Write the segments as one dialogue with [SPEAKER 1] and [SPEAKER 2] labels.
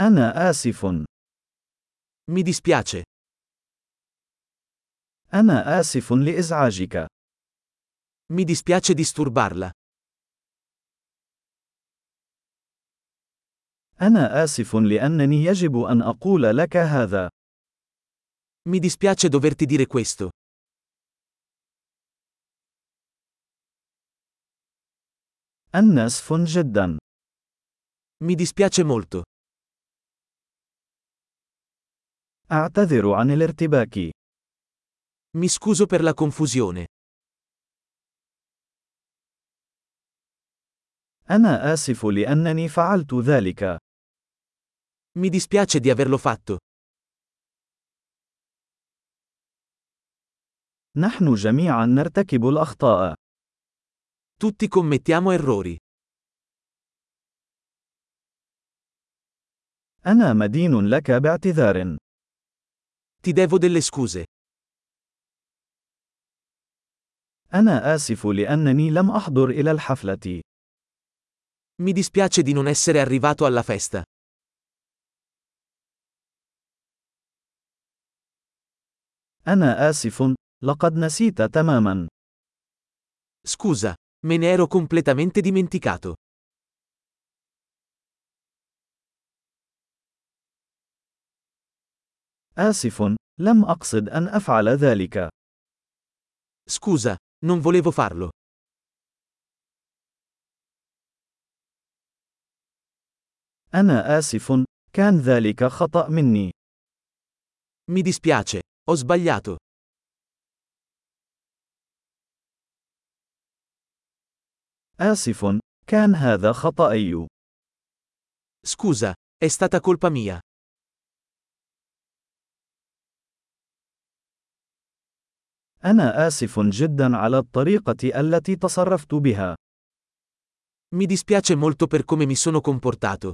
[SPEAKER 1] أنا آسف.
[SPEAKER 2] Mi dispiace.
[SPEAKER 1] أنا آسف لإزعاجك.
[SPEAKER 2] Mi dispiace disturbarla.
[SPEAKER 1] أنا آسف لأنني يجب أن أقول لك هذا.
[SPEAKER 2] Mi dispiace doverti dire questo.
[SPEAKER 1] أنا آسف جدا.
[SPEAKER 2] Mi dispiace molto.
[SPEAKER 1] أعتذر عن الارتباك.
[SPEAKER 2] Mi scuso per la confusione.
[SPEAKER 1] أنا آسف لأنني فعلت ذلك.
[SPEAKER 2] Mi dispiace di averlo fatto.
[SPEAKER 1] نحن جميعا نرتكب الأخطاء.
[SPEAKER 2] Tutti commettiamo errori.
[SPEAKER 1] أنا مدين لك باعتذار.
[SPEAKER 2] Ti devo delle scuse.
[SPEAKER 1] أنا آسف لأنني لم أحضر إلى الحفلة.
[SPEAKER 2] Mi dispiace di non essere arrivato alla festa.
[SPEAKER 1] أنا آسف. لقد نسيت تماما.
[SPEAKER 2] Scusa, me ne ero completamente dimenticato.
[SPEAKER 1] آسف. لم أقصد أن أفعل ذلك.
[SPEAKER 2] Scusa, non volevo farlo.
[SPEAKER 1] أنا آسف. كان ذلك خطأ مني.
[SPEAKER 2] Mi dispiace, ho sbagliato.
[SPEAKER 1] آسف. كان هذا خطأي.
[SPEAKER 2] Scusa, è stata colpa mia.
[SPEAKER 1] أنا آسف جدا على الطريقة التي تصرفت بها.
[SPEAKER 2] Mi dispiace molto per come mi sono comportato.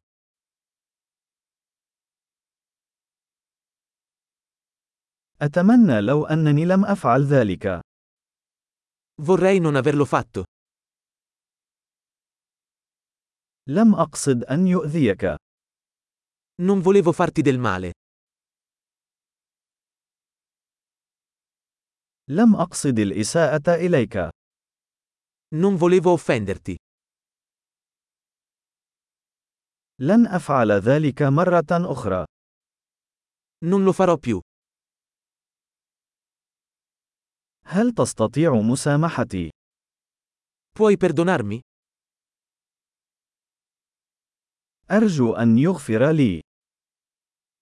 [SPEAKER 1] أتمنى لو أنني لم أفعل ذلك.
[SPEAKER 2] Vorrei non averlo fatto.
[SPEAKER 1] لم أقصد أن يؤذيك.
[SPEAKER 2] Non volevo farti del male.
[SPEAKER 1] لم أقصد الإساءة إليك.
[SPEAKER 2] Non volevo offenderti.
[SPEAKER 1] لن أفعل ذلك مرة أخرى.
[SPEAKER 2] Non lo farò più.
[SPEAKER 1] هل تستطيع مسامحتي؟
[SPEAKER 2] Puoi perdonarmi?
[SPEAKER 1] أرجو أن يغفر لي.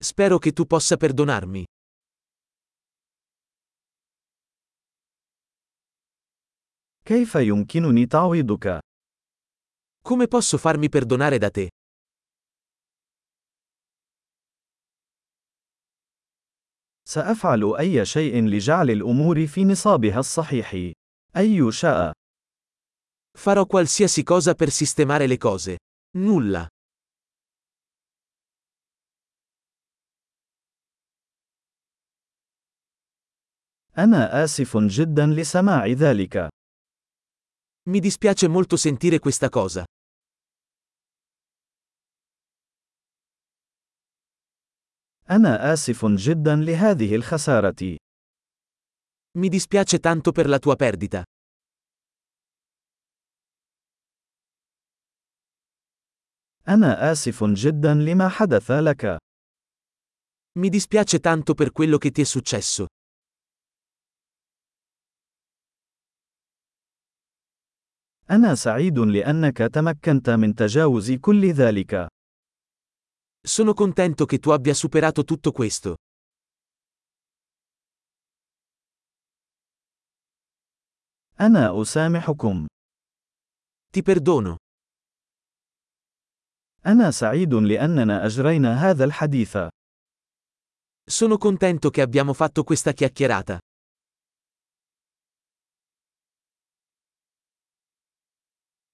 [SPEAKER 2] Spero che tu possa perdonarmi.
[SPEAKER 1] كيف يمكنني تعويضك؟
[SPEAKER 2] Come posso farmi perdonare da te?
[SPEAKER 1] سأفعل أي شيء لجعل الأمور في نصابها الصحيح. أي شاء.
[SPEAKER 2] Farò qualsiasi cosa per sistemare le cose. Nulla.
[SPEAKER 1] أنا آسف جدا لسماع ذلك.
[SPEAKER 2] Mi dispiace molto sentire questa cosa.
[SPEAKER 1] أنا آسف جدا لهذه الخسارة.
[SPEAKER 2] Mi dispiace tanto per la tua perdita.
[SPEAKER 1] أنا آسف جدا لما حدث لك.
[SPEAKER 2] Mi dispiace tanto per quello che ti è successo.
[SPEAKER 1] أنا سعيد لأنك تمكنت من تجاوز كل ذلك.
[SPEAKER 2] Sono contento che tu abbia superato tutto questo.
[SPEAKER 1] أنا أسامحكم.
[SPEAKER 2] Ti perdono.
[SPEAKER 1] أنا سعيد لأننا أجرينا هذا الحديث.
[SPEAKER 2] Sono contento che abbiamo fatto questa chiacchierata.